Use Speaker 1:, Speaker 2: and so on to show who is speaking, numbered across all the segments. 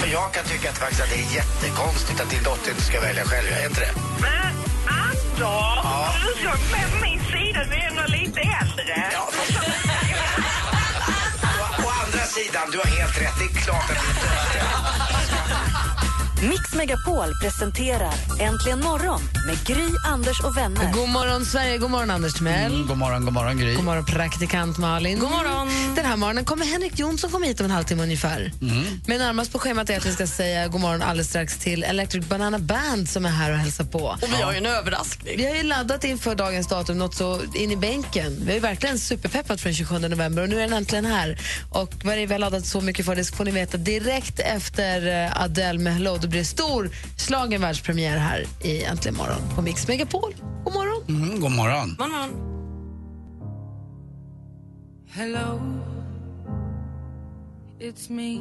Speaker 1: För jag kan tycka att, faktiskt att det är jättekonstigt att din dotter inte ska välja själv. Jag är inte det.
Speaker 2: Men Anders, du som med min sida, du är ändå lite äldre.
Speaker 1: Å, å andra sidan, du har helt rätt. Det är klart att inte
Speaker 3: Mix Megapol presenterar Äntligen morgon med Gry, Anders och vänner.
Speaker 4: God morgon, Sverige. God morgon, Anders Timell.
Speaker 5: Mm, God morgon, god morgon Gry.
Speaker 4: God morgon, praktikant Malin. God morgon. Den här morgonen kommer Henrik Jonsson komma hit om en halvtimme ungefär.
Speaker 5: Mm.
Speaker 4: Men närmast på schemat är att vi ska säga god morgon alldeles strax till Electric Banana Band som är här och hälsar på. Och vi har ju en överraskning. Vi har ju laddat inför dagens datum något så in i bänken. Vi har ju verkligen superpeppat från 27 november och nu är den äntligen här. Och vad det är vi har laddat så mycket för det får ni veta direkt efter eh, Adele med Hello. Det blir stor slagen världspremiär här i Äntligen morgon på Mix Megapol. God morgon.
Speaker 5: Mm, god morgon.
Speaker 6: Hello, it's me.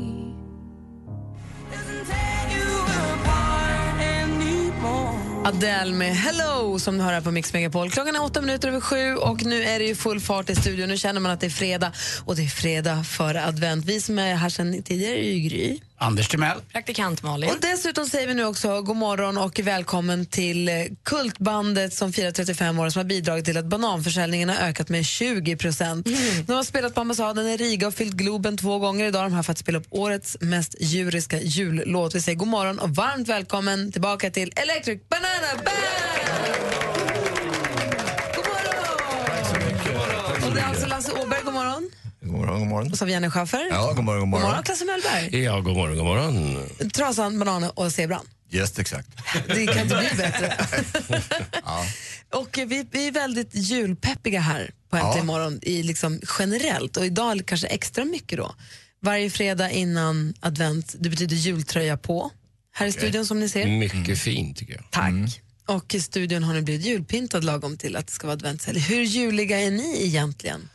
Speaker 4: Adele med Hello som du hör här på Mix Megapol. Klockan är åtta minuter över sju och nu är det ju full fart i studion. Nu känner man att det är fredag och det är fredag före advent. Vi som är här sedan tidigare är ju Gry.
Speaker 5: Anders Timell.
Speaker 4: Och dessutom säger vi nu också god morgon och välkommen till eh, Kultbandet som firar 35 år som har bidragit till att bananförsäljningen har ökat med 20 procent. De har spelat på ambassaden i Riga och fyllt Globen två gånger idag. De här för att spela upp årets mest djuriska jullåt. Vi säger god morgon och varmt välkommen tillbaka till Electric Banana Band! God morgon! Och det är alltså Lasse Åberg, god morgon.
Speaker 7: God morgon, god morgon.
Speaker 4: Och så har vi Janne Schaffer.
Speaker 7: Ja, god morgon, god
Speaker 4: God
Speaker 7: morgon.
Speaker 4: morgon, Klasse Mellberg.
Speaker 7: Ja, god morgon, god morgon.
Speaker 4: Trasan, banan och zebran.
Speaker 7: Just exakt.
Speaker 4: Det kan inte bli bättre. Och eh, vi, vi är väldigt julpeppiga här på Äntligen morgon i liksom generellt och idag kanske extra mycket då. Varje fredag innan advent, det betyder jultröja på här i studion som ni ser.
Speaker 7: Mycket
Speaker 5: Mm.
Speaker 7: fint tycker jag.
Speaker 4: Tack. Och i studion har ni blivit julpyntad lagom till att det ska vara adventshelg. Hur juliga är ni egentligen?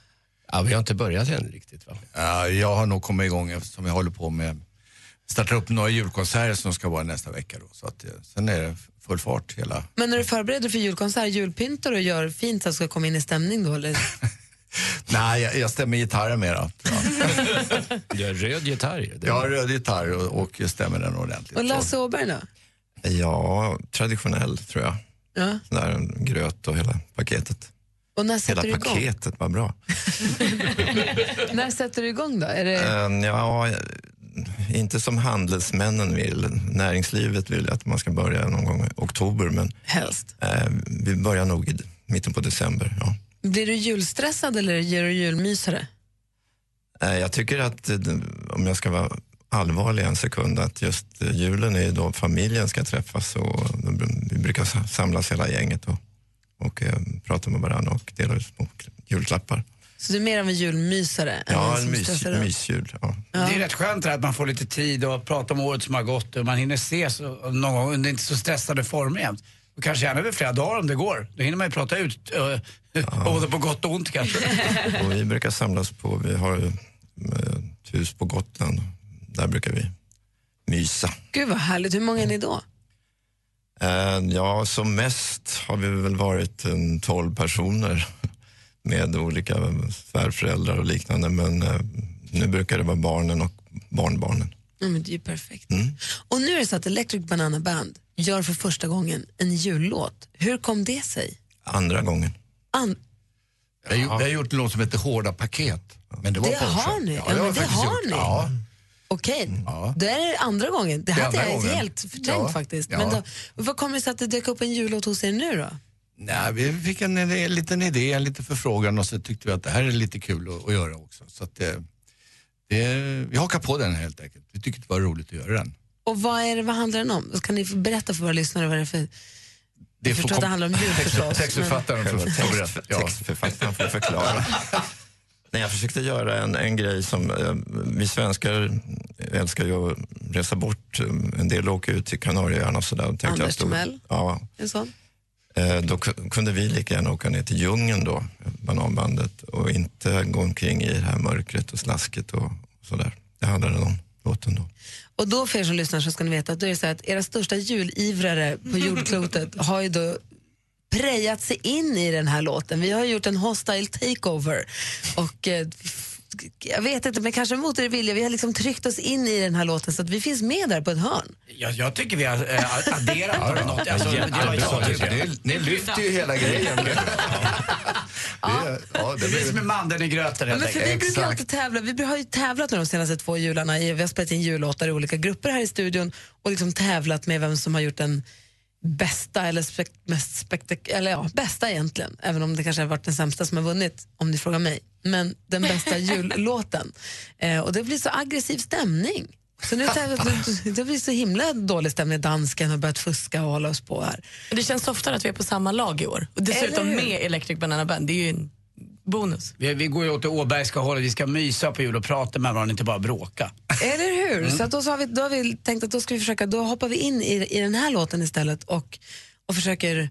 Speaker 7: Ja, vi har inte börjat än riktigt va?
Speaker 8: Ja, Eh, jag har nog kommit igång eftersom jag håller på med startar upp några julkonserter som ska vara nästa vecka. Då, så att, eh, sen är det full fart hela...
Speaker 4: Men när du förbereder för julkonsert, julpyntar och gör fint så att du ska komma in i stämning då? Eller?
Speaker 8: Nej, jag, jag stämmer gitarren mera. Ja.
Speaker 7: Du har röd gitarr ju. Det-
Speaker 8: Jag har röd gitarr och, och jag stämmer den ordentligt.
Speaker 4: Och
Speaker 8: Så-
Speaker 4: Lasse Åberg då?
Speaker 7: Ja, traditionell tror jag.
Speaker 4: Ja.
Speaker 7: Sån där gröt och hela paketet.
Speaker 4: Och när sätter
Speaker 7: Hela
Speaker 4: du igång?
Speaker 7: paketet var bra.
Speaker 4: När sätter du igång då? Är det...
Speaker 7: Eh, ja, eh, inte som handelsmännen vill. Näringslivet vill att man ska börja någon gång i oktober, men
Speaker 4: Helst.
Speaker 7: eh, vi börjar nog i d- mitten på december. Ja.
Speaker 4: Blir du julstressad eller ger du julmysare?
Speaker 7: Eh, Jag tycker att, eh, om jag ska vara allvarlig en sekund, att just eh, julen är ju då familjen ska träffas och då br- vi brukar sa- samlas hela gänget och, och eh, prata med varandra och dela ut små k- julklappar.
Speaker 4: Så du är mer av en julmysare?
Speaker 7: Ja,
Speaker 4: en
Speaker 7: en
Speaker 4: som
Speaker 7: mys,
Speaker 4: stressar runt?
Speaker 7: mysjul. Ja.
Speaker 5: Det är rätt skönt det här att man får lite tid och prata om året som har gått och man hinner ses och- någon gång under inte så stressade former jämt. Och kanske gärna över flera dagar om det går. Då hinner man ju prata ut, eh, både på gott och ont kanske.
Speaker 7: Och vi brukar samlas på, vi har ju, eh, ett hus på Gotland, där brukar vi mysa.
Speaker 4: Gud vad härligt, hur många är
Speaker 7: Mm.
Speaker 4: ni då?
Speaker 7: Eh, Ja, som mest har vi väl varit en 12 personer med olika svärföräldrar och liknande. Men eh, nu brukar det vara barnen och barnbarnen.
Speaker 4: Ja, men det är ju perfekt.
Speaker 7: Mm.
Speaker 4: Och nu är det så att Electric Banana Band gör för första gången en jullåt. Hur kom det sig?
Speaker 7: Andra gången.
Speaker 4: An-
Speaker 8: Jag, har gjort- jag har gjort en låt som heter Hårda paket. Men det var
Speaker 4: Det
Speaker 8: på
Speaker 4: har
Speaker 8: Orsa.
Speaker 4: ni. Ja,
Speaker 8: det
Speaker 4: men
Speaker 8: jag
Speaker 4: det
Speaker 8: faktiskt
Speaker 4: har ni.
Speaker 8: Ja.
Speaker 4: Okej, det är andra gången. Det
Speaker 8: är
Speaker 4: hade
Speaker 8: andra
Speaker 4: jag
Speaker 8: gången.
Speaker 4: helt förträngt
Speaker 8: Ja,
Speaker 4: faktiskt.
Speaker 8: ja.
Speaker 4: Men då, vad kommer det sig att det dök upp en jullåt hos er nu då?
Speaker 8: Nej, vi fick en, idé- en liten idé, en liten förfrågan och så tyckte vi att det här är lite kul att, att göra också. Så att, eh, det, vi hakar på den helt enkelt. Vi tyckte det var roligt att göra den.
Speaker 4: Och vad, är det, vad handlar den om? Kan ni berätta för våra lyssnare vad det är för...
Speaker 8: Det
Speaker 4: Jag förstår att det handlar om jul förstås. men-
Speaker 8: Textförfattaren får
Speaker 7: Själva
Speaker 8: får berätta.
Speaker 7: text,
Speaker 8: Ja.
Speaker 7: textförfattaren får förklara. Nej, jag försökte göra en, en grej som... Eh, vi svenskar älskar ju att resa bort. En del åker ut till Kanarieöarna och sådär. Tänkte jag
Speaker 4: Anders
Speaker 7: stod-
Speaker 4: Timell?
Speaker 7: Ja.
Speaker 4: En sån?
Speaker 7: Eh, Då ku- kunde vi lika gärna åka ner till djungeln då, Bananbandet, och inte gå omkring i det här mörkret och slasket och sådär. Det handlade om låten då.
Speaker 4: Och då för er som lyssnar så ska ni veta att, då är det så här att era största julivrare på jordklotet har ju då prejat sig in i den här låten. Vi har gjort en hostile takeover och eh, f- jag vet inte, men kanske mot er vilja, vi har liksom tryckt oss in i den här låten så att vi finns med där på ett hörn.
Speaker 5: Jag, jag tycker vi har eh, adderat ja, något. Alltså, jag, jag, jag, tycker det.
Speaker 8: Ni lyfter ju hela grejen.
Speaker 5: Ja, det blir som med mandeln i gröten
Speaker 4: Ja,
Speaker 5: helt
Speaker 4: men för vi
Speaker 5: enkelt.
Speaker 4: brukar alltid tävla. Vi har ju tävlat nu de senaste två jularna. i- Vi har spelat in jullåtar i olika grupper här i studion och liksom tävlat med vem som har gjort den bästa eller spek- mest spektak- eller ja, bästa egentligen. Även om det kanske har varit den sämsta som har vunnit, om ni frågar mig. Men den bästa jullåten. Eh, och det blir så aggressiv stämning. Så nu tävlar- det blir så himla dålig stämning. Dansken har börjat fuska och hålla oss på här.
Speaker 9: Det känns oftare att vi är på samma lag i år. Och dessutom
Speaker 4: Eller hur?
Speaker 9: med Electric Banana Band. Det är ju en bonus.
Speaker 5: Vi, vi går ju åt det åbergska hållet. Vi ska mysa på jul och prata med varandra, inte bara bråka.
Speaker 4: Eller hur?
Speaker 5: Mm.
Speaker 4: Så att då, så har vi, då har vi tänkt att då ska vi försöka, då hoppar vi in i, i den här låten istället och, och försöker f-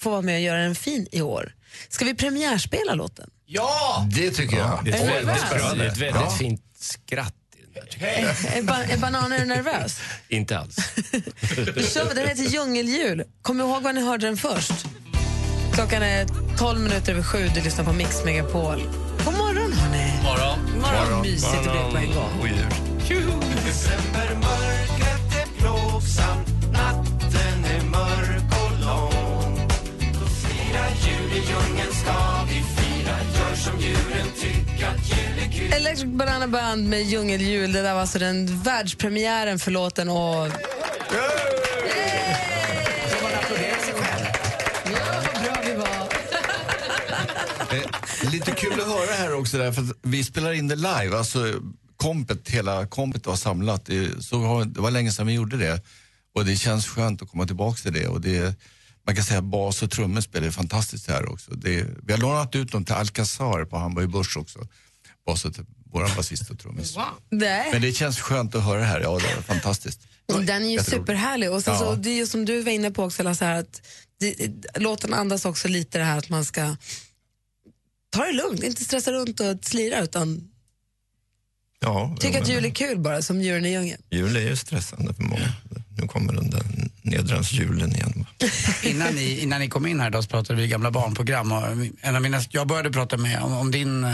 Speaker 4: få vara med och göra den fin i år. Ska vi premiärspela låten?
Speaker 5: Ja!
Speaker 8: Det tycker jag.
Speaker 10: Det är ett
Speaker 4: Är du
Speaker 10: väldigt,
Speaker 4: nervös?
Speaker 10: det är ett väldigt
Speaker 8: Ja.
Speaker 10: fint skratt.
Speaker 4: Är, är, ba- är bananen nervös?
Speaker 10: Inte alls.
Speaker 4: Då kör vi, den heter Djungeljul. Kom ihåg var ni hörde den först. Klockan är 12 minuter över sju, du lyssnar på Mix Megapol. God morgon hörni!
Speaker 10: Morgon.
Speaker 4: Morgon, mysigt det blev på en gång.
Speaker 10: Och djur.
Speaker 1: Decembermörkret är plågsamt, natten är mörk och lång. Då fira jul i djungeln ska vi fira, gör som djuren tycker att jul är kul.
Speaker 4: Electric Banana Band med Djungeljul. Det där var alltså den världspremiären för låten och...
Speaker 8: Eh, lite kul att höra här också, där, för att vi spelar in det live. Alltså, kompet, hela kompet var samlat. Det, så har, det var länge sedan vi gjorde det. Och det känns skönt att komma tillbaka till det. Och det man kan säga att bas och trummor spelar ju fantastiskt här också. Det, vi har lånat ut dem till Alcazar på Hamburg Börs också. Bas och, vår basist och trummis.
Speaker 4: Nej.
Speaker 8: Men det känns skönt att höra här. Ja, det är fantastiskt.
Speaker 4: Den är ju
Speaker 8: Jätteroligt.
Speaker 4: superhärlig. Och sen så,
Speaker 8: Ja.
Speaker 4: det är ju som du var inne på också, Lasse, här, att det, låten andas också lite det här att man ska ta det lugnt, inte stressa runt och slira utan
Speaker 7: Ja,
Speaker 4: tycka
Speaker 7: jo,
Speaker 4: att
Speaker 7: men
Speaker 4: jul är kul bara, som djuren i djungeln.
Speaker 7: jul är ju stressande för många. Nu kommer den där nedransjulen igen. va?
Speaker 5: innan, ni, innan ni kom in här idag så pratade vi gamla barnprogram. Och en av mina, jag började prata med om, om din eh,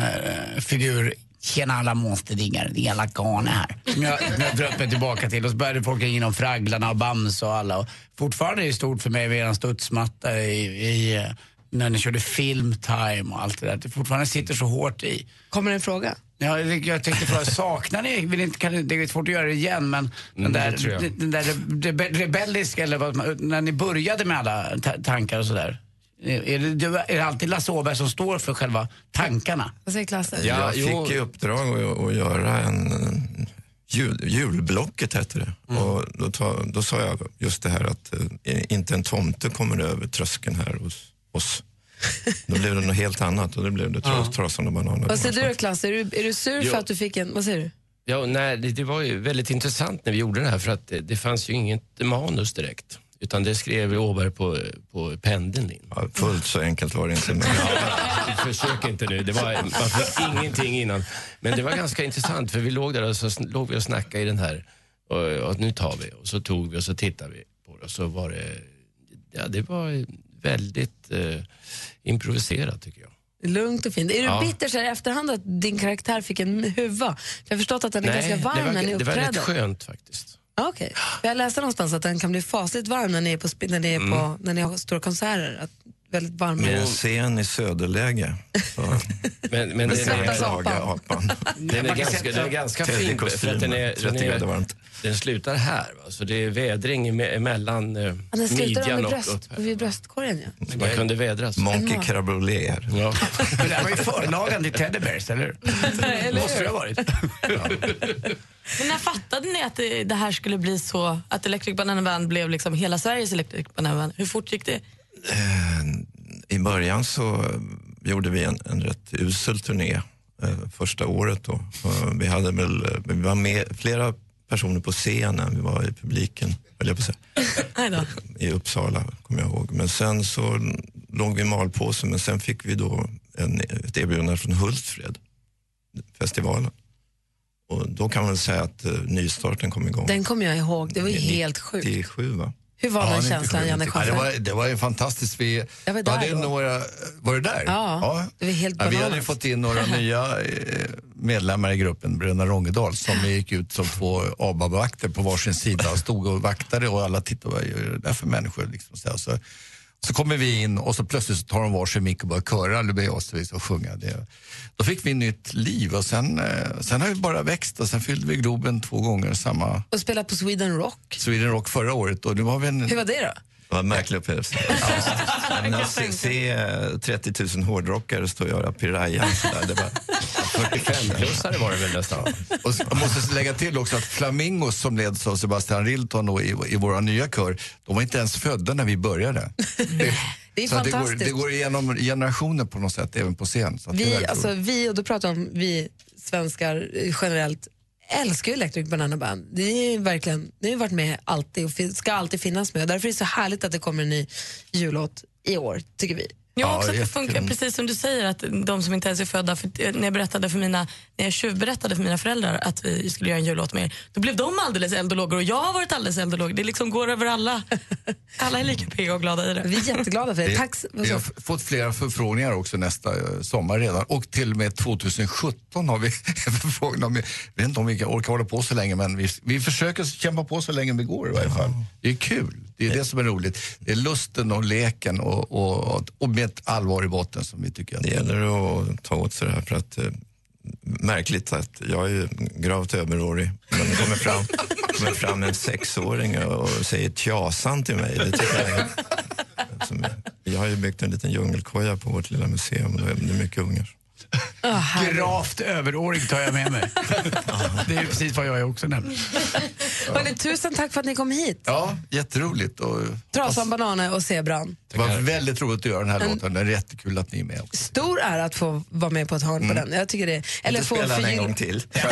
Speaker 5: figur Tjena alla monsterdingare, det är alla Kane här. Som jag, som jag drömde tillbaka till. Och så började folk ringa in om Fragglarna och Bams och alla. Och fortfarande är det stort för mig med eran studsmatta i, i, eh, när ni körde filmtime och allt det där. Det fortfarande sitter så hårt i.
Speaker 4: Kommer det en fråga?
Speaker 5: Ja, jag- jag tänkte fråga, saknar ni, vill inte, kan, ni- det är svårt att göra det igen, men den
Speaker 10: Mm, det tror
Speaker 5: där,
Speaker 10: jag.
Speaker 5: den där rebe, rebelliska, eller vad, man- när ni började med alla ta, tankar och sådär. Är är det, du- är det alltid Lasse Åberg som står för själva tankarna?
Speaker 4: Vad säger Klasse?
Speaker 7: jag fick i uppdrag att, att göra en... eh, Jul, julblocket hette det.
Speaker 10: Mm.
Speaker 7: Och då, ta, då sa jag just det här att eh, inte en tomte kommer över tröskeln här hos oss. Då blev det något helt annat och då blev det tras, trasan och bananer.
Speaker 4: Vad säger du då, Klasse? Är du, är du sur
Speaker 10: Jo.
Speaker 4: för att du fick en... Vad säger du?
Speaker 10: Ja, nej, det, det var ju väldigt intressant när vi gjorde det här för att det, det fanns ju inget manus direkt. Utan det skrev Åberg på, på pendeln in.
Speaker 7: Ja, fullt så enkelt var det inte. Men...
Speaker 10: Försök inte nu. Det var, man fick ingenting innan. Men det var ganska intressant för vi låg där och så sn- låg vi och snackade i den här. Och, och nu tar vi. Och så tog vi och så tittade vi på det. Och så var det, ja, det var väldigt eh, improviserat tycker jag.
Speaker 4: Lugnt och fint. Är du
Speaker 10: Ja.
Speaker 4: bitter så här i efterhand att din karaktär fick en huva? För jag har förstått att den är ganska varm
Speaker 10: det var,
Speaker 4: när ni
Speaker 10: det var
Speaker 4: uppträder.
Speaker 10: rätt skönt faktiskt.
Speaker 4: Ah, Okej. För Jag läste någonstans att den kan bli fasligt varm när ni är på, sp- när ni är på,
Speaker 7: Mm.
Speaker 4: när ni har stora konserter. Att väldigt varm.
Speaker 7: Med en scen i söderläge. Så...
Speaker 10: Men, men
Speaker 7: Med
Speaker 10: den är-
Speaker 7: svettas apan. apan.
Speaker 10: Den är ganska, den är ganska fin. För att den, är, den,
Speaker 7: 30 grader
Speaker 10: är,
Speaker 7: varmt.
Speaker 10: den slutar här, va? så det är vädring eme- emellan eh,
Speaker 4: Ja, den slutar
Speaker 10: midjan
Speaker 4: med
Speaker 10: och
Speaker 4: bröst,
Speaker 10: upp. här.
Speaker 4: vid bröstkorgen. Ja.
Speaker 10: Så man kunde vädras.
Speaker 7: Monkey Cabriolet.
Speaker 10: Ja.
Speaker 5: Det där var ju förlagen till Teddy Bears, eller hur? Måste det ha varit.
Speaker 9: Men när fattade ni att det, det här skulle bli så, att Electric Banana Band blev liksom hela Sveriges Electric Banana Band? Hur fort gick det?
Speaker 7: I början så eh, gjorde vi en, en rätt usel turné eh, första året. Då. Eh, vi, hade väl, eh, vi var med flera personer på scenen, vi var i publiken, höll jag på att säga
Speaker 9: Nej då.
Speaker 7: i Uppsala, kommer jag ihåg. Men sen så låg vi i malpåse, men sen fick vi då en, ett erbjudande från Hultsfred, festivalen. Och då kan man väl säga att eh, nystarten kom igång.
Speaker 4: Den kommer jag ihåg. Det var ju helt sjukt.
Speaker 7: 97, va?
Speaker 4: Hur var den känslan, Janne
Speaker 8: ja, det,
Speaker 4: Schaffner?
Speaker 8: var, det var ju fantastiskt. Vi,
Speaker 4: Jag var
Speaker 8: vi
Speaker 4: där
Speaker 8: hade
Speaker 4: då.
Speaker 8: några, var du där?
Speaker 4: Ja, det var helt
Speaker 8: Ja, vi hade ju
Speaker 4: bananas.
Speaker 8: fått in några nya eh, medlemmar i gruppen, Bröderna Rongedal, som gick ut som två ABAB-vakter på varsin sida och stod och vaktade och alla tittade, vad är det där för människor? Liksom, så, här. så, så kommer vi in och så plötsligt så tar de varsin mick och börjar köra Lubejosevich och sjunga. Det, då fick vi nytt liv och sen, eh, sen har vi bara växt och sen fyllde vi Globen två gånger samma
Speaker 4: Och spela på Sweden Rock.
Speaker 8: Sweden Rock förra året och nu har vi en...
Speaker 4: Hur var det då?
Speaker 7: Det var en märklig upplevelse. Ja, men att se, se eh, 30 000 hårdrockare stå och göra pirayan sådär, det var...
Speaker 10: 45-plussare var det väl nästan?
Speaker 8: Och s- jag måste lägga till också att Flamingos som leds av Sebastian Rilton då i, i vår nya kör, de var inte ens födda när vi började.
Speaker 4: Det är
Speaker 8: så att det, går,
Speaker 4: fantastiskt.
Speaker 8: det går igenom generationer på något sätt, även på scen. Så att det är
Speaker 4: Vi,
Speaker 8: väldigt
Speaker 4: alltså,
Speaker 8: roligt.
Speaker 4: vi, och då pratar jag om vi svenskar eh, generellt, älskar ju Electric Banana Band. Det är ju verkligen, det har ju varit med alltid och fin- ska alltid finnas med. Och därför är det så härligt att det kommer en ny jullåt i år, tycker vi.
Speaker 9: Jag också att det
Speaker 4: jättekul.
Speaker 9: funkar precis som du säger att de som inte ens är födda, för eh, när jag berättade för mina, när jag tjuvberättade för mina föräldrar att vi skulle göra en jullåt med er, då blev de alldeles eld och lågor och jag har varit alldeles eld och låg. Det liksom går över alla. Alla är lika pigga och glada i det.
Speaker 4: Vi är jätteglada för
Speaker 8: Vi-
Speaker 4: det. Tack. s- vad
Speaker 8: Vi
Speaker 4: sa-
Speaker 8: har f- fått flera förfrågningar också nästa eh, sommar redan och till och med 2017 har vi förfrågningar. om- Jag vet inte om vi kan- orkar hålla på så länge men vi, vi försöker kämpa på så länge vi går i varje fall. Det är kul, det är det som är roligt. Det är lusten och leken och, och, och med ett allvar i botten som vi tycker att
Speaker 7: Det gäller att ta åt sig det här för att eh, märkligt att jag är ju gravt överårig men det kommer fram, kommer fram en sexåring och och säger tjasan till mig. Det tycker jag är, som, vi har ju byggt en liten djungelkoja på vårt lilla museum och det är mycket ungar.
Speaker 5: Gravt överårig tar jag med mig. det är precis vad jag är också nämligen.
Speaker 4: Hörrni, tusen tack för att ni kom hit.
Speaker 8: Ja, jätteroligt. Och,
Speaker 4: Trasan, bananen och zebran.
Speaker 8: det var väldigt roligt att göra den här
Speaker 4: En-
Speaker 8: låten. Det är jättekul att ni är med också.
Speaker 4: Stor ära att få vara med på ett hörn på den. Jag tycker det. Eller få förgylla-
Speaker 7: till.
Speaker 5: Den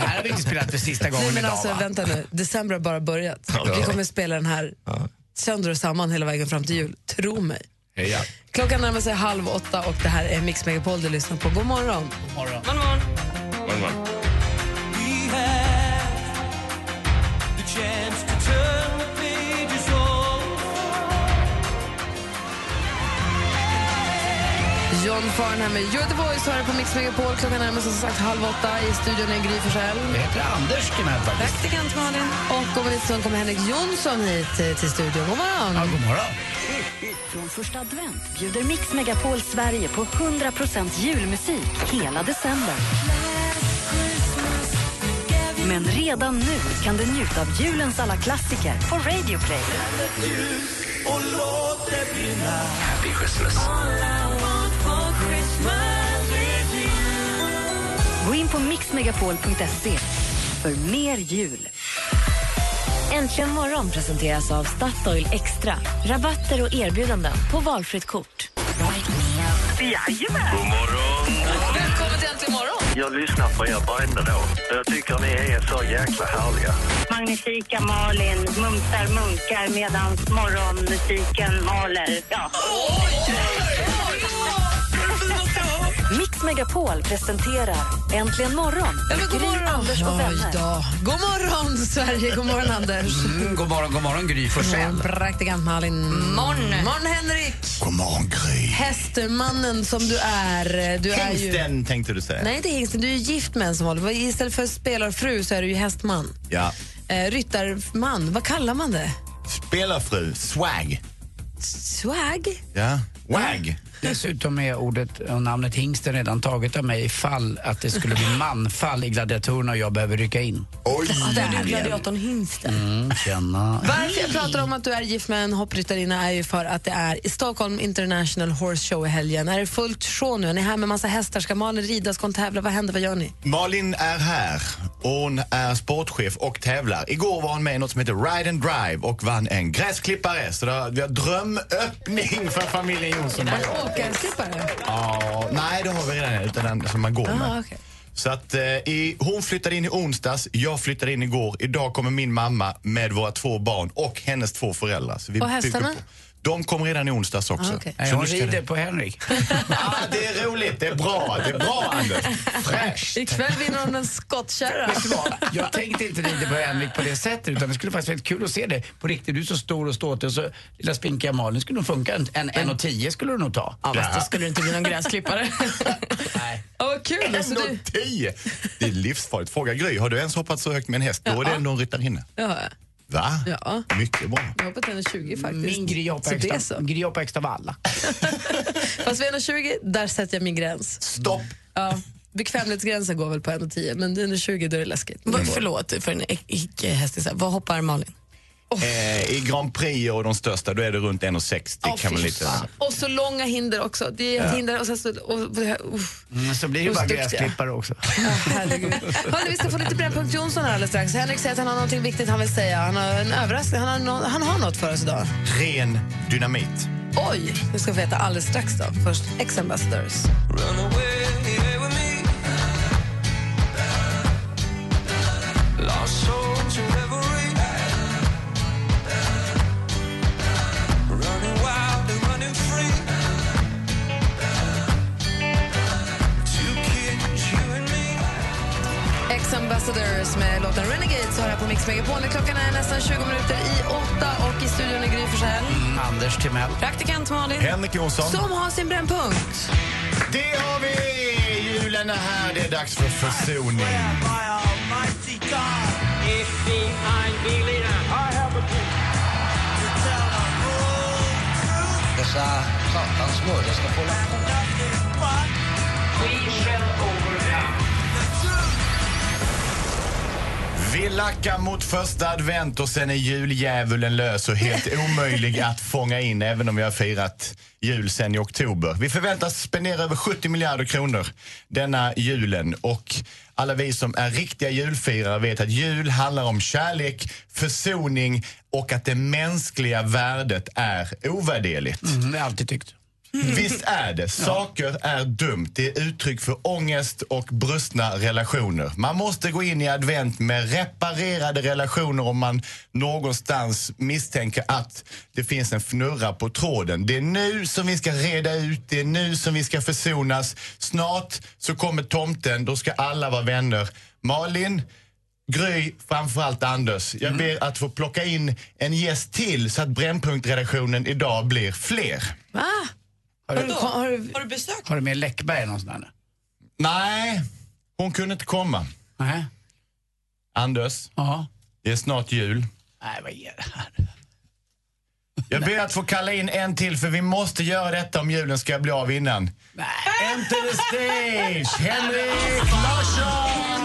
Speaker 5: här har vi inte spelat för sista gången
Speaker 4: Mm. Nej, men
Speaker 5: idag
Speaker 4: alltså,
Speaker 5: va?
Speaker 4: vänta nu. December har bara börjat.
Speaker 5: Ja.
Speaker 4: Vi kommer spela den här sönder och samman hela vägen fram till jul. Tro mig.
Speaker 10: Heja.
Speaker 4: Klockan närmar sig halv åtta och det här är Mix Megapol du lyssnar på. God morgon.
Speaker 1: We had the chance to turn the pages
Speaker 4: John Farn här med You're the voice hör på Mix Megapol. Klockan närmar sig som sagt halv åtta. I studion är Gry Forssell.
Speaker 5: Jag heter Anders till mig faktiskt.
Speaker 4: Praktikant Malin. Och om en liten stund kommer Henrik Jonsson hit eh, till studion. God morgon. Ja,
Speaker 5: god morgon.
Speaker 3: Från första advent bjuder Mix Megapol Sverige på 100% julmusik hela december. Men redan nu kan du njuta av julens alla klassiker på Radio Play.
Speaker 1: Och låt det bli natt Happy Christmas All I want for Christmas is you
Speaker 3: Gå in på mixmegapol.se för mer jul. Äntligen morgon presenteras av Statoil Extra. Rabatter och erbjudanden på valfritt kort.
Speaker 2: Jajamän!
Speaker 11: God morgon.
Speaker 4: Välkommen till Äntligen morgon.
Speaker 11: Jag lyssnar på er varenda dag. Jag tycker ni är så jäkla härliga.
Speaker 12: Magnifika Malin mumsar munkar medan morgonmusiken maler. Ja.
Speaker 3: Mix Megapol presenterar Äntligen morgon med Gry, Anders och vänner.
Speaker 4: Ja, god morgon, Sverige. God morgon, Anders.
Speaker 5: Mm, god morgon, god morgon Gry Forssell.
Speaker 4: Praktikant Malin. Morgon. Morgon, Henrik.
Speaker 13: God morgon, Gry.
Speaker 4: Hästermannen som du är. Du är ju...
Speaker 13: Hingsten tänkte du säga.
Speaker 4: Nej, det är hingsten. Du är ju gift med en som håller. Istället för spelarfru så är du ju hästman.
Speaker 13: Ja.
Speaker 4: Eh, ryttarman, vad kallar man det?
Speaker 13: Spelarfru, swag.
Speaker 4: Swag?
Speaker 13: Ja. Wag.
Speaker 5: Dessutom är ordet och namnet hingsten redan taget av mig ifall att det skulle bli manfall i gladiatorerna och jag behöver rycka in.
Speaker 13: Oj!
Speaker 4: Ja, där är du gladiatorn Hingsten.
Speaker 5: Mm, tjena.
Speaker 4: Varför jag pratar om att du är gift med en hoppryttarinna är ju för att det är i Stockholm International Horse Show i helgen. Är det fullt show nu? Är ni här med massa hästar? Ska Malin rida? Ska hon tävla? Vad händer? Vad gör ni?
Speaker 13: Malin är här Och hon är sportchef och tävlar. Igår var hon med i något som heter Ride and Drive och vann en gräsklippare. Så där, vi har drömöppning för familjen Jonsson och jag.
Speaker 4: Åkarklippare?
Speaker 13: Ja, nej, det har vi redan, utan den som man går med.
Speaker 4: Ah, okay.
Speaker 13: Så att eh, i, hon flyttade in i onsdags, jag flyttade in igår. Idag kommer min mamma med våra två barn och hennes två föräldrar. Så vi
Speaker 4: Och
Speaker 13: bygger
Speaker 4: hästarna?
Speaker 13: på. De kommer redan i onsdags också.
Speaker 4: Ah, okej.
Speaker 5: Nej, hon
Speaker 13: nu ska det-
Speaker 5: rider på Henrik.
Speaker 13: ah, det är roligt, det är bra, det är bra Anders.
Speaker 4: Ikväll vinner hon en skottkärra.
Speaker 5: Vet du vad? Jag tänkte inte rida på Henrik på det sättet utan det skulle faktiskt vara väldigt kul att se det på riktigt. Du är så stor och ståtlig och så lilla spinkiga Malin skulle nog funka. En, en, en och tio skulle du nog ta.
Speaker 9: Ja, fast då skulle det inte bli någon gräsklippare.
Speaker 4: Åh, vad kul! Alltså,
Speaker 13: Ändå
Speaker 4: du...
Speaker 13: tio! Det är livsfarligt. Fråga Gry, har du ens hoppat så högt med en häst? Då är det ändå en ryttarinna.
Speaker 4: ja,
Speaker 13: Va?
Speaker 4: ja.
Speaker 13: Mycket bra.
Speaker 4: Jag har hoppat 1,20 faktiskt.
Speaker 5: Min Gry hoppar
Speaker 4: Så det är
Speaker 5: extra-
Speaker 4: så.
Speaker 5: Gry hoppar extra av alla.
Speaker 4: Fast vid 1,20, där sätter jag min gräns.
Speaker 13: Stopp!
Speaker 4: Ja. Bekvämlighetsgränsen går väl på 1,10 men 1,20 då är det läskigt.
Speaker 9: Vad- Förlåt för en ic- icke-hästis. Vad hoppar Malin?
Speaker 4: Oh.
Speaker 13: Eh, I Grand Prix och de största, då är det runt 1,60.
Speaker 4: Ja,
Speaker 13: kan man
Speaker 4: fy
Speaker 13: lite...
Speaker 4: fan. Och så långa hinder också. Det är ett
Speaker 13: Ja.
Speaker 4: hinder och sen så... Och, och, uff.
Speaker 5: Mm, så blir det
Speaker 4: Och
Speaker 5: bara
Speaker 4: så duktiga.
Speaker 5: gräsklippare också.
Speaker 4: Herregud. Hörni, vi ska få lite Brännpunkt Jonsson här alldeles strax. Henrik säger att han har något viktigt han vill säga. Han har en överraskning. Han har, nå- han har något för oss idag.
Speaker 13: Ren dynamit.
Speaker 4: Oj! Nu ska vi veta alldeles strax då. Först Ex-Ambassadors. Ex-Ambassadors med låten Renegade så här på Mix Megapol. Klockan är nästan 20 minuter i åtta och i studion är Gry Forssell.
Speaker 5: Mm, Anders Timell.
Speaker 4: Praktikant Malin.
Speaker 13: Henrik Jonsson.
Speaker 4: Som har sin brännpunkt.
Speaker 13: Det har vi! Julen är här, det är dags för försoning.
Speaker 1: Dessa satans mördare ska få
Speaker 13: Vi lackar mot första advent och sen är juldjävulen lös och helt omöjlig att fånga in även om vi har firat jul sen i oktober. Vi förväntas spendera över 70 miljarder kronor denna julen och alla vi som är riktiga julfirare vet att jul handlar om kärlek, försoning och att det mänskliga värdet är ovärderligt.
Speaker 5: Mm, det har jag alltid tyckt.
Speaker 13: Visst är det. Saker är dumt. Det är uttryck för ångest och brustna relationer. Man måste gå in i advent med reparerade relationer om man någonstans misstänker att det finns en fnurra på tråden. Det är nu som vi ska reda ut, det är nu som vi ska försonas. Snart så kommer tomten, då ska alla vara vänner. Malin, Gry, framförallt Anders. Jag ber att få plocka in en gäst till så att Brännpunktredaktionen idag blir fler.
Speaker 4: Va?
Speaker 5: Har du,
Speaker 4: har du,
Speaker 9: besök?
Speaker 5: Har du med Läckberg någonstans? där?
Speaker 13: Nej, hon kunde inte komma.
Speaker 5: Nej.
Speaker 13: Anders, det är snart jul.
Speaker 5: Nej, vad är det här?
Speaker 13: Jag ber att få kalla in en till för vi måste göra detta om julen ska bli av innan. Enter the stage, Henrik Larsson!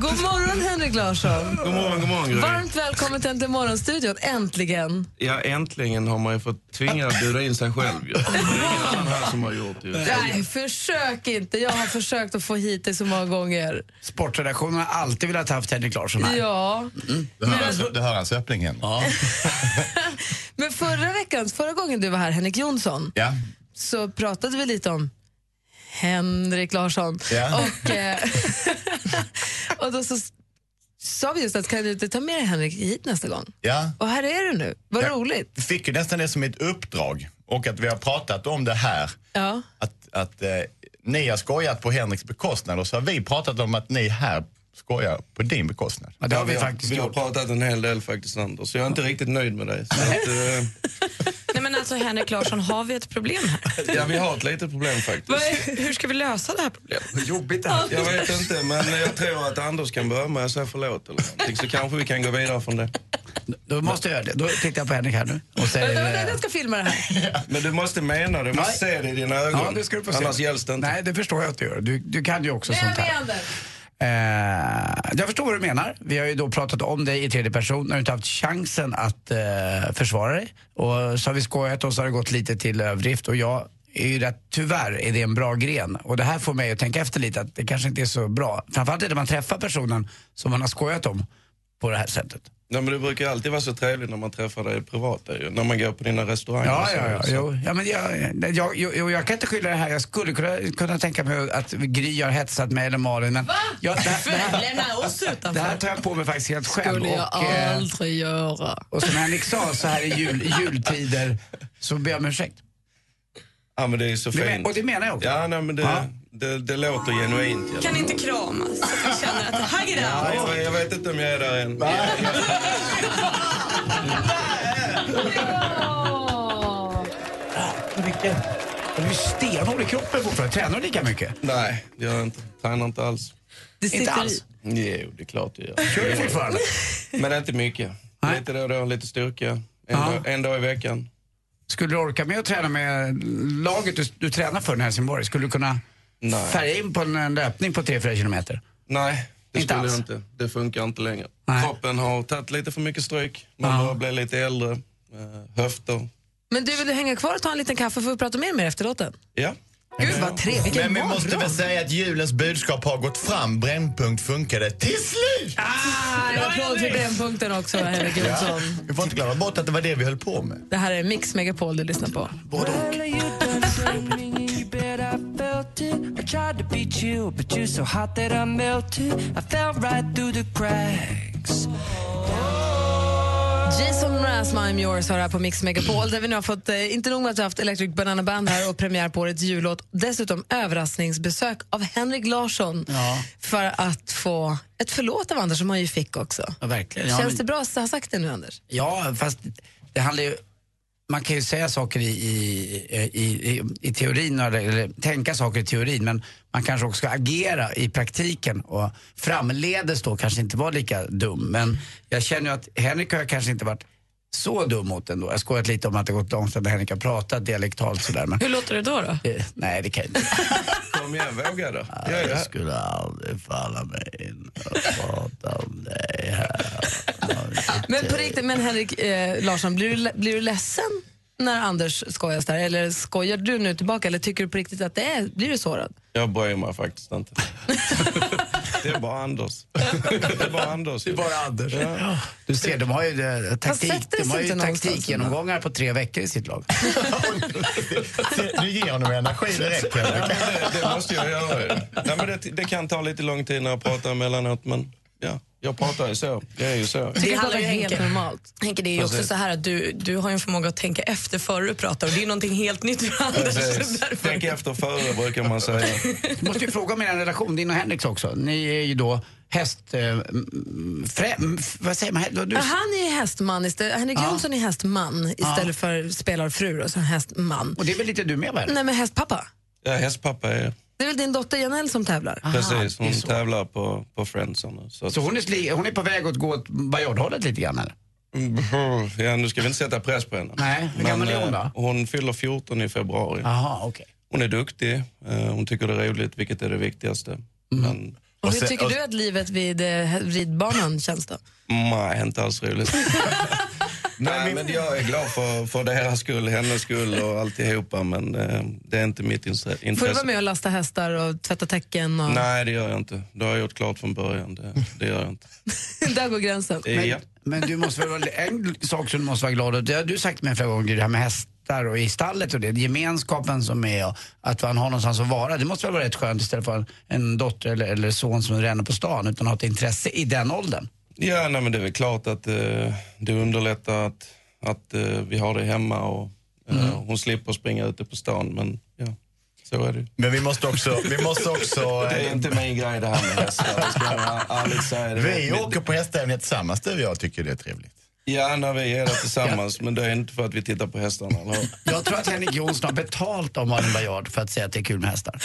Speaker 4: God morgon Henrik Larsson.
Speaker 14: God morgon, god morgon Gry.
Speaker 4: Varmt välkommen till Äntligen Morgonstudion. Äntligen.
Speaker 14: Ja, äntligen har man ju fått tvinga att bjuda in sig själv ju. Det är ingen annan här som har gjort det.
Speaker 4: Nej, försök inte. Jag har försökt att få hit dig så många gånger.
Speaker 5: Sportredaktionen har alltid velat haft Henrik Larsson här.
Speaker 4: Ja.
Speaker 13: Du hör hans- Du hör hans öppning, Henrik.
Speaker 4: Men förra veckan, förra gången du var här, Henrik Jonsson,
Speaker 13: Ja.
Speaker 4: så pratade vi lite om Henrik Larsson.
Speaker 13: Ja.
Speaker 4: Och, eh, och då så s- sa vi just att kan du inte ta med dig Henrik hit nästa gång?
Speaker 13: ja.
Speaker 4: Och här är du nu. Vad roligt.
Speaker 13: Jag fick ju nästan det som ett uppdrag och att vi har pratat om det här.
Speaker 4: Ja.
Speaker 13: Att, att eh, ni har skojat på Henriks bekostnad och så har vi pratat om att ni här skojar på din bekostnad.
Speaker 14: vi Vi har pratat en hel del faktiskt Anders, så jag är inte riktigt nöjd med dig. Så att, eh,
Speaker 9: Nej men alltså Henrik Larsson, har vi ett problem här?
Speaker 14: ja, vi har ett litet problem faktiskt.
Speaker 9: Vad är, hur ska vi lösa det här problemet?
Speaker 5: Vad jobbigt det
Speaker 14: Jag vet inte, men jag tror att Anders kan börja med att säga förlåt eller någonting, så kanske vi kan gå vidare från det.
Speaker 5: Då måste jag göra det. Då tittar jag på Henrik här nu och
Speaker 4: Vänta,
Speaker 5: säger...
Speaker 4: vänta, jag ska filma det här.
Speaker 14: eh, Men du måste mena det, du måste se det i dina ögon.
Speaker 5: Ja, det ska du få se.
Speaker 14: Alltså, Annars hjälps det inte.
Speaker 5: Nej, det förstår jag att du gör. Du, du kan ju också sånt här.
Speaker 4: Anders.
Speaker 5: Eh, jag förstår vad du menar. Vi har ju då pratat om dig i tredje person. Du har inte haft chansen att eh, försvara dig. Och så har vi skojat och så har det gått lite till överdrift. Och jag är ju rätt, tyvärr är det en bra gren. Och det här får mig att tänka efter lite att det kanske inte är så bra. Framförallt är det när man träffar personen som man har skojat om på det här sättet.
Speaker 14: Nej, men du brukar alltid vara så trevlig när man träffar dig privat, det är ju, när man går på dina restauranger.
Speaker 5: Ja,
Speaker 14: och så.
Speaker 5: ja, ja.
Speaker 14: Så-
Speaker 5: Jo, ja men jag, nej, jag, jo, jo, jag kan inte skylla det här. Jag skulle kunna, kunna tänka mig att Gry har hetsat mig eller Malin. Men jag, det, här- det, här,
Speaker 9: Lämna oss
Speaker 5: det
Speaker 9: utanför.
Speaker 5: här tar jag på mig faktiskt helt själv.
Speaker 9: Skulle jag
Speaker 5: och, eh,
Speaker 9: aldrig göra.
Speaker 5: och som Henrik sa, så här i jul, i jultider så ber jag om ursäkt.
Speaker 14: Ja, men det är så
Speaker 5: Det men-
Speaker 14: fint.
Speaker 5: och det menar jag också.
Speaker 14: Ja, nej, men det,
Speaker 5: Ja.
Speaker 14: det, det låter genuint. i
Speaker 9: Kan
Speaker 14: alla fall.
Speaker 9: ni inte kramas? Så att vi känner att, hugg it
Speaker 14: Ja,
Speaker 9: out!
Speaker 14: jag, jag vet inte om jag är där än.
Speaker 5: Vilken... Du är ju stenhård i kroppen fortfarande. Tränar du lika mycket?
Speaker 14: Nej, det gör jag inte. Tränar inte alls.
Speaker 5: Det sitter Inte alls? i.
Speaker 14: Jo, det är klart jag gör.
Speaker 5: Kör du fortfarande?
Speaker 14: Men inte mycket. Lite då och då, lite styrka. En, dag, en dag i veckan.
Speaker 5: Skulle du orka med att träna med laget du, du tränar för i Helsingborg? Skulle du kunna
Speaker 14: Nej.
Speaker 5: färga in på en, en löpning på 3-4 kilometer?
Speaker 14: Nej, det
Speaker 5: Inte
Speaker 14: skulle
Speaker 5: alls.
Speaker 14: jag inte. Det funkar inte längre. Kroppen har tagit lite för mycket stryk. Man börjar bli lite äldre. Eh, Höfter.
Speaker 4: Men du, vill du hänga kvar och ta en liten kaffe? Får vi prata mer med dig efter låten?
Speaker 14: Ja.
Speaker 4: Gud vad trevligt, vilken
Speaker 13: Men vi måste
Speaker 4: morgon.
Speaker 13: väl säga att julens budskap har gått fram. Brännpunkt funkade till slut!
Speaker 4: Ah, en applåd för brännpunkten också, Henrik Jonsson.
Speaker 13: Ja, Alltså, vi får inte glömma bort att det var det vi höll på med.
Speaker 4: Det här är Mix Megapol du lyssnar på.
Speaker 13: Både och.
Speaker 4: Jason Mraz, I'm yours, hör här på Mix Megapol där vi nu har fått, eh, inte nog med att vi har haft Electric Banana Band här och premiär på årets jullåt, dessutom överraskningsbesök av Henrik Larsson för att få ett förlåt av Anders som han ju fick också.
Speaker 5: Ja, verkligen. Ja,
Speaker 4: Känns
Speaker 5: men-
Speaker 4: det bra att ha sagt det nu, Anders?
Speaker 5: Ja, fast det handlar ju... Man kan ju säga saker i, i, i, i, i teorin, eller, eller tänka saker i teorin, men man kanske också ska agera i praktiken och framledes då kanske inte vara lika dum. Men jag känner ju att Henrik har jag kanske inte varit så dum mot ändå. Jag har skojat lite om att det gått långsamt att Henrik har pratat dialektalt sådär. Men,
Speaker 9: Hur låter det då? då?
Speaker 5: eh, nej, det kan jag inte.
Speaker 14: Kom igen, våga då. Jag är
Speaker 5: Jag
Speaker 14: här.
Speaker 5: skulle aldrig falla mig in och prata om dig här.
Speaker 4: Men på riktigt, men Henrik eh, Larsson, blir du, blir du ledsen när Anders skojas där? Eller skojar du nu tillbaka? Eller tycker du på riktigt att det är, blir du sårad?
Speaker 14: Jag bryr mig faktiskt inte. det är bara Anders. Det är bara Anders. Det är
Speaker 5: bara Anders.
Speaker 14: Ja.
Speaker 5: Du ser, de har ju eh, taktik,
Speaker 4: sätter
Speaker 5: de har
Speaker 4: sig
Speaker 5: ju
Speaker 4: inte någonstans
Speaker 5: taktikgenomgångar på tre veckor i sitt lag.
Speaker 13: Du ger honom energi direkt,
Speaker 14: Ja,
Speaker 13: Henrik.
Speaker 14: men det, det måste jag göra. ju. Nej, men det, det kan ta lite lång tid när jag pratar emellanåt, men ja, jag pratar ju så. Jag är ju så.
Speaker 9: Tycker jag
Speaker 4: handlar
Speaker 9: bara
Speaker 4: ju
Speaker 9: är
Speaker 4: helt
Speaker 9: Henke.
Speaker 4: normalt.
Speaker 9: Henke, det är ju
Speaker 5: Alltså-
Speaker 9: också
Speaker 14: Precis.
Speaker 9: så här att du, du har ju en förmåga att tänka efter före du pratar och det är någonting helt nytt för Anders.
Speaker 14: Precis. Tänk efter före, brukar man säga.
Speaker 5: Du måste ju fråga om er relation, din och Henriks också. Ni är ju då häst... Eh, mm, frä, mm, f- vad säger man? Du, du,
Speaker 4: Ja, Han är ju hästman istället. Henrik
Speaker 5: Ja.
Speaker 4: Jonsson är hästman istället
Speaker 5: Ja.
Speaker 4: för spelarfru och så hästman.
Speaker 5: och det är väl lite du med va?
Speaker 4: Nej men hästpappa.
Speaker 14: Ja, hästpappa är
Speaker 4: Det är väl din dotter Janelle som tävlar?
Speaker 14: precis. Hon tävlar på, på Friends. nu, Så, att-
Speaker 5: Så hon är, sli, hon är på väg att gå åt Bayard-hållet lite grann eller?
Speaker 14: Mhm. Ja, nu ska vi inte sätta press på henne.
Speaker 5: Nej, hur gammal är hon då?
Speaker 14: eh, Hon fyller 14 i februari.
Speaker 5: Jaha, okej.
Speaker 14: Hon är duktig, eh, hon tycker det är roligt, vilket är det viktigaste. Men
Speaker 4: Och hur tycker du att livet vid eh, ridbanan känns då?
Speaker 14: Nej, inte alls roligt. Nej, men jag är glad för, för deras skull, hennes skull och alltihopa, men eh, det är inte mitt inse-
Speaker 4: Får du vara
Speaker 5: Alltså-
Speaker 14: intresse.
Speaker 4: med och lasta hästar och tvätta täcken? Och...
Speaker 14: Nej, det gör jag inte. Det har jag gjort klart från början. Det, det gör jag inte.
Speaker 4: Där går gränsen.
Speaker 5: Men,
Speaker 14: Ja.
Speaker 5: men du måste väl, vara- en sak som du måste vara glad åt, det har du sagt till mig flera gånger, det här med hästar och i stallet och det, gemenskapen som är och att man har någonstans att vara. Det måste väl vara rätt skönt istället för en dotter eller, eller son som ränner på stan utan att ha ett intresse i den åldern.
Speaker 14: Ja, nej, men det är väl klart att eh, det underlättar att, att eh, vi har det hemma och eh,
Speaker 5: Mm.
Speaker 14: hon slipper springa ute på stan, men ja, så är det ju.
Speaker 13: Men vi måste också... Vi måste också eh,
Speaker 14: Det är inte min grej det här med hästar, det ska jag ärligt säga. Det
Speaker 13: Vi
Speaker 14: var-
Speaker 13: åker på hästtävlingar tillsammans du och jag tycker det är trevligt.
Speaker 14: Ja, när vi är där tillsammans, men det är inte för att vi tittar på hästarna, eller hur?
Speaker 5: Jag tror att Henrik Jonsson har betalt av Malin Baryard för att säga att det är kul med hästar.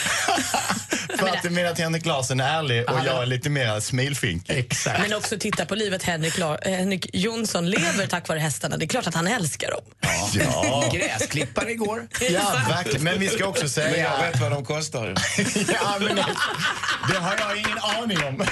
Speaker 13: För att du menar att Henrik Larsson är ärlig och jag är lite mer smilfinkig.
Speaker 5: Exakt.
Speaker 9: Men också titta på livet Henrik, La- eh, Henrik Jonsson lever tack vare hästarna. Det är klart att han älskar dem.
Speaker 13: Ja.
Speaker 5: Gräsklippare igår.
Speaker 13: Ja, verkligen. Men vi ska också säga...
Speaker 14: Men jag vet vad de kostar ju.
Speaker 13: ja, men det, det har jag ingen aning om.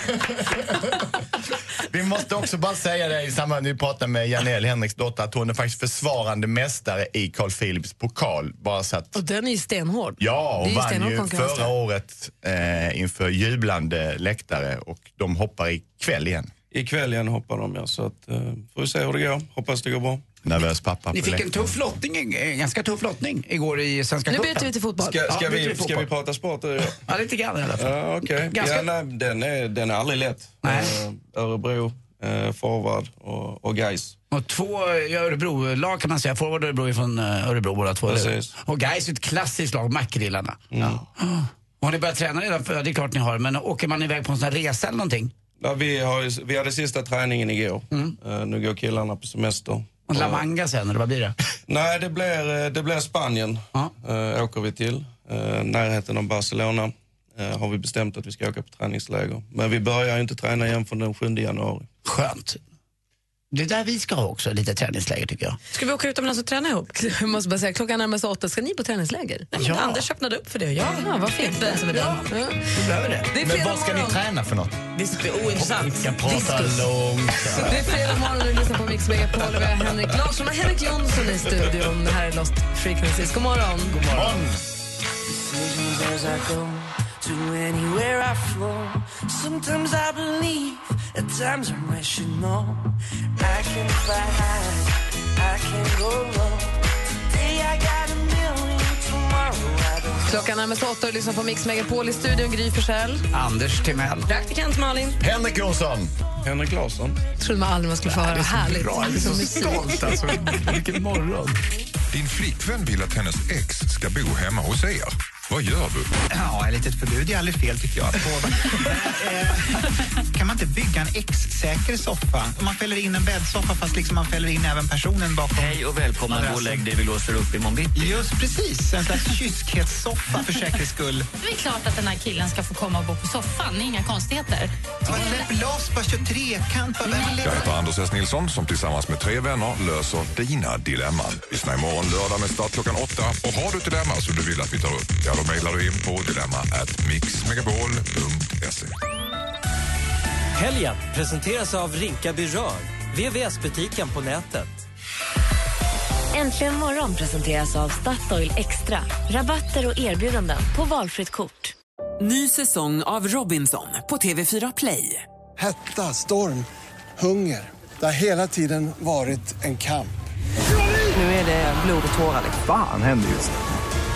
Speaker 13: Vi måste också bara säga det i samband med att vi pratar med Janelle, Henriks dotter, att hon är faktiskt försvarande mästare i Carl Philips pokal. Bara så att,
Speaker 4: Och den är ju stenhård.
Speaker 13: ja,
Speaker 4: Det är
Speaker 13: hon vann
Speaker 4: stenhård
Speaker 13: ju
Speaker 4: konkurrens
Speaker 13: förra
Speaker 4: där.
Speaker 13: året eh, inför jublande läktare och de hoppar ikväll igen.
Speaker 14: Ikväll igen hoppar de, ja. Så att, eh, får vi se hur det går. Hoppas det går bra.
Speaker 13: Nervös pappa
Speaker 5: Ni fick en tuff lottning, eh, ganska tuff lottning igår i Svenska cupen.
Speaker 14: Ska, ska,
Speaker 5: Ja, byter
Speaker 14: vi,
Speaker 5: till
Speaker 14: ska vi
Speaker 5: fotboll.
Speaker 14: prata sport? eller?
Speaker 5: Ja, lite grann i alla fall.
Speaker 14: Ja, okej.
Speaker 5: Ganska-
Speaker 14: Ja, nej, den, är, den är aldrig lätt. Eh, Örebro, eh, forward och, och Gais.
Speaker 5: Och två eh, Örebro-lag kan man säga. Forward och Örebro är från eh, Örebro båda två. eller hur?
Speaker 14: Precis.
Speaker 5: Och Gais är ett klassiskt lag, Mackrillarna.
Speaker 14: Mm.
Speaker 5: Ah. Har ni börjat träna redan? För, ja, det är klart ni har. Men åker man iväg på en sån här resa eller någonting?
Speaker 14: Ja, vi, har, ju- vi hade sista träningen igår. Eh, nu går killarna på semester.
Speaker 5: Och La Manga sen, eller vad blir det?
Speaker 14: Nej, det blir, eh, det blir Spanien. Eh, åker vi till. Eh, närheten av Barcelona eh, har vi bestämt att vi ska åka på träningsläger. Men vi börjar ju inte träna igen från den 7 januari.
Speaker 5: Skönt. Det är där vi ska ha också, lite träningsläger tycker jag.
Speaker 9: Ska vi åka utomlands och träna ihop?
Speaker 4: Jag måste bara säga, klockan närmar sig åtta. Ska ni på träningsläger?
Speaker 9: Nej, men Anders öppnade upp för det och jag.
Speaker 4: Ja, vad fint. Den som är den. Ja.
Speaker 5: Du behöver det.
Speaker 4: Det är
Speaker 13: Men
Speaker 4: fredag
Speaker 13: vad ska ni
Speaker 4: morgon.
Speaker 13: träna för något?
Speaker 9: Det är ointressant.
Speaker 13: Vi ska prata långsamt.
Speaker 4: Det är fredag morgon och du lyssnar på Mix Megapol och vi har Henrik Larsson och Henrik Jonsson i studion. Det här är Lost Frequencies. God morgon. God
Speaker 13: morgon.
Speaker 1: Decisions as I go to anywhere I flow. Sometimes I believe, at times I'm rational. I can fly high, I can go low. Today I got a million, tomorrow I don't.
Speaker 4: Klockan närmar sig åtta och du lyssnar på Mix Megapol i studion. Gry Forssell.
Speaker 5: Anders Timell.
Speaker 9: Praktikant Malin.
Speaker 13: Henrik Jonsson.
Speaker 14: Henrik Larsson.
Speaker 4: Trodde man aldrig man skulle få höra. Härligt. Liksom
Speaker 15: Vilken morgon. Din flickvän vill att hennes ex ska bo hemma hos er. Vad gör du?
Speaker 16: Ja, ett litet förbud är aldrig fel tycker jag. På, eh, kan man inte bygga en ex-säker soffa? Man fäller in en bäddsoffa fast liksom man fäller in även personen bakom.
Speaker 17: Hej och välkommen. Gå och lägg dig. Vi låser upp imorgon bitti.
Speaker 16: Just precis, en slags kyskhetssoffa för säkerhets skull.
Speaker 18: Det är klart att den här killen ska få komma och bo på soffan. Det är inga konstigheter.
Speaker 16: Bara Släpp loss, bara kör trekant. Bara välj.
Speaker 15: Jag heter Anders S. Nilsson som tillsammans med tre vänner löser dina dilemman. Lyssna imorgon lördag med start klockan åtta. Och har du ett dilemma som du vill att vi tar upp, ja då mejlar du in på dilemma at mixmegapol.se.
Speaker 19: Helgen presenteras av Rinkaby Rör, VVS-butiken på nätet.
Speaker 3: Äntligen morgon presenteras av Statoil Extra. Rabatter och erbjudanden på valfritt kort.
Speaker 20: Ny säsong av Robinson på TV4 Play.
Speaker 21: Hetta, storm, hunger. Det har hela tiden varit en kamp.
Speaker 20: Nu är det blod och tårar.
Speaker 22: Fan händer just det.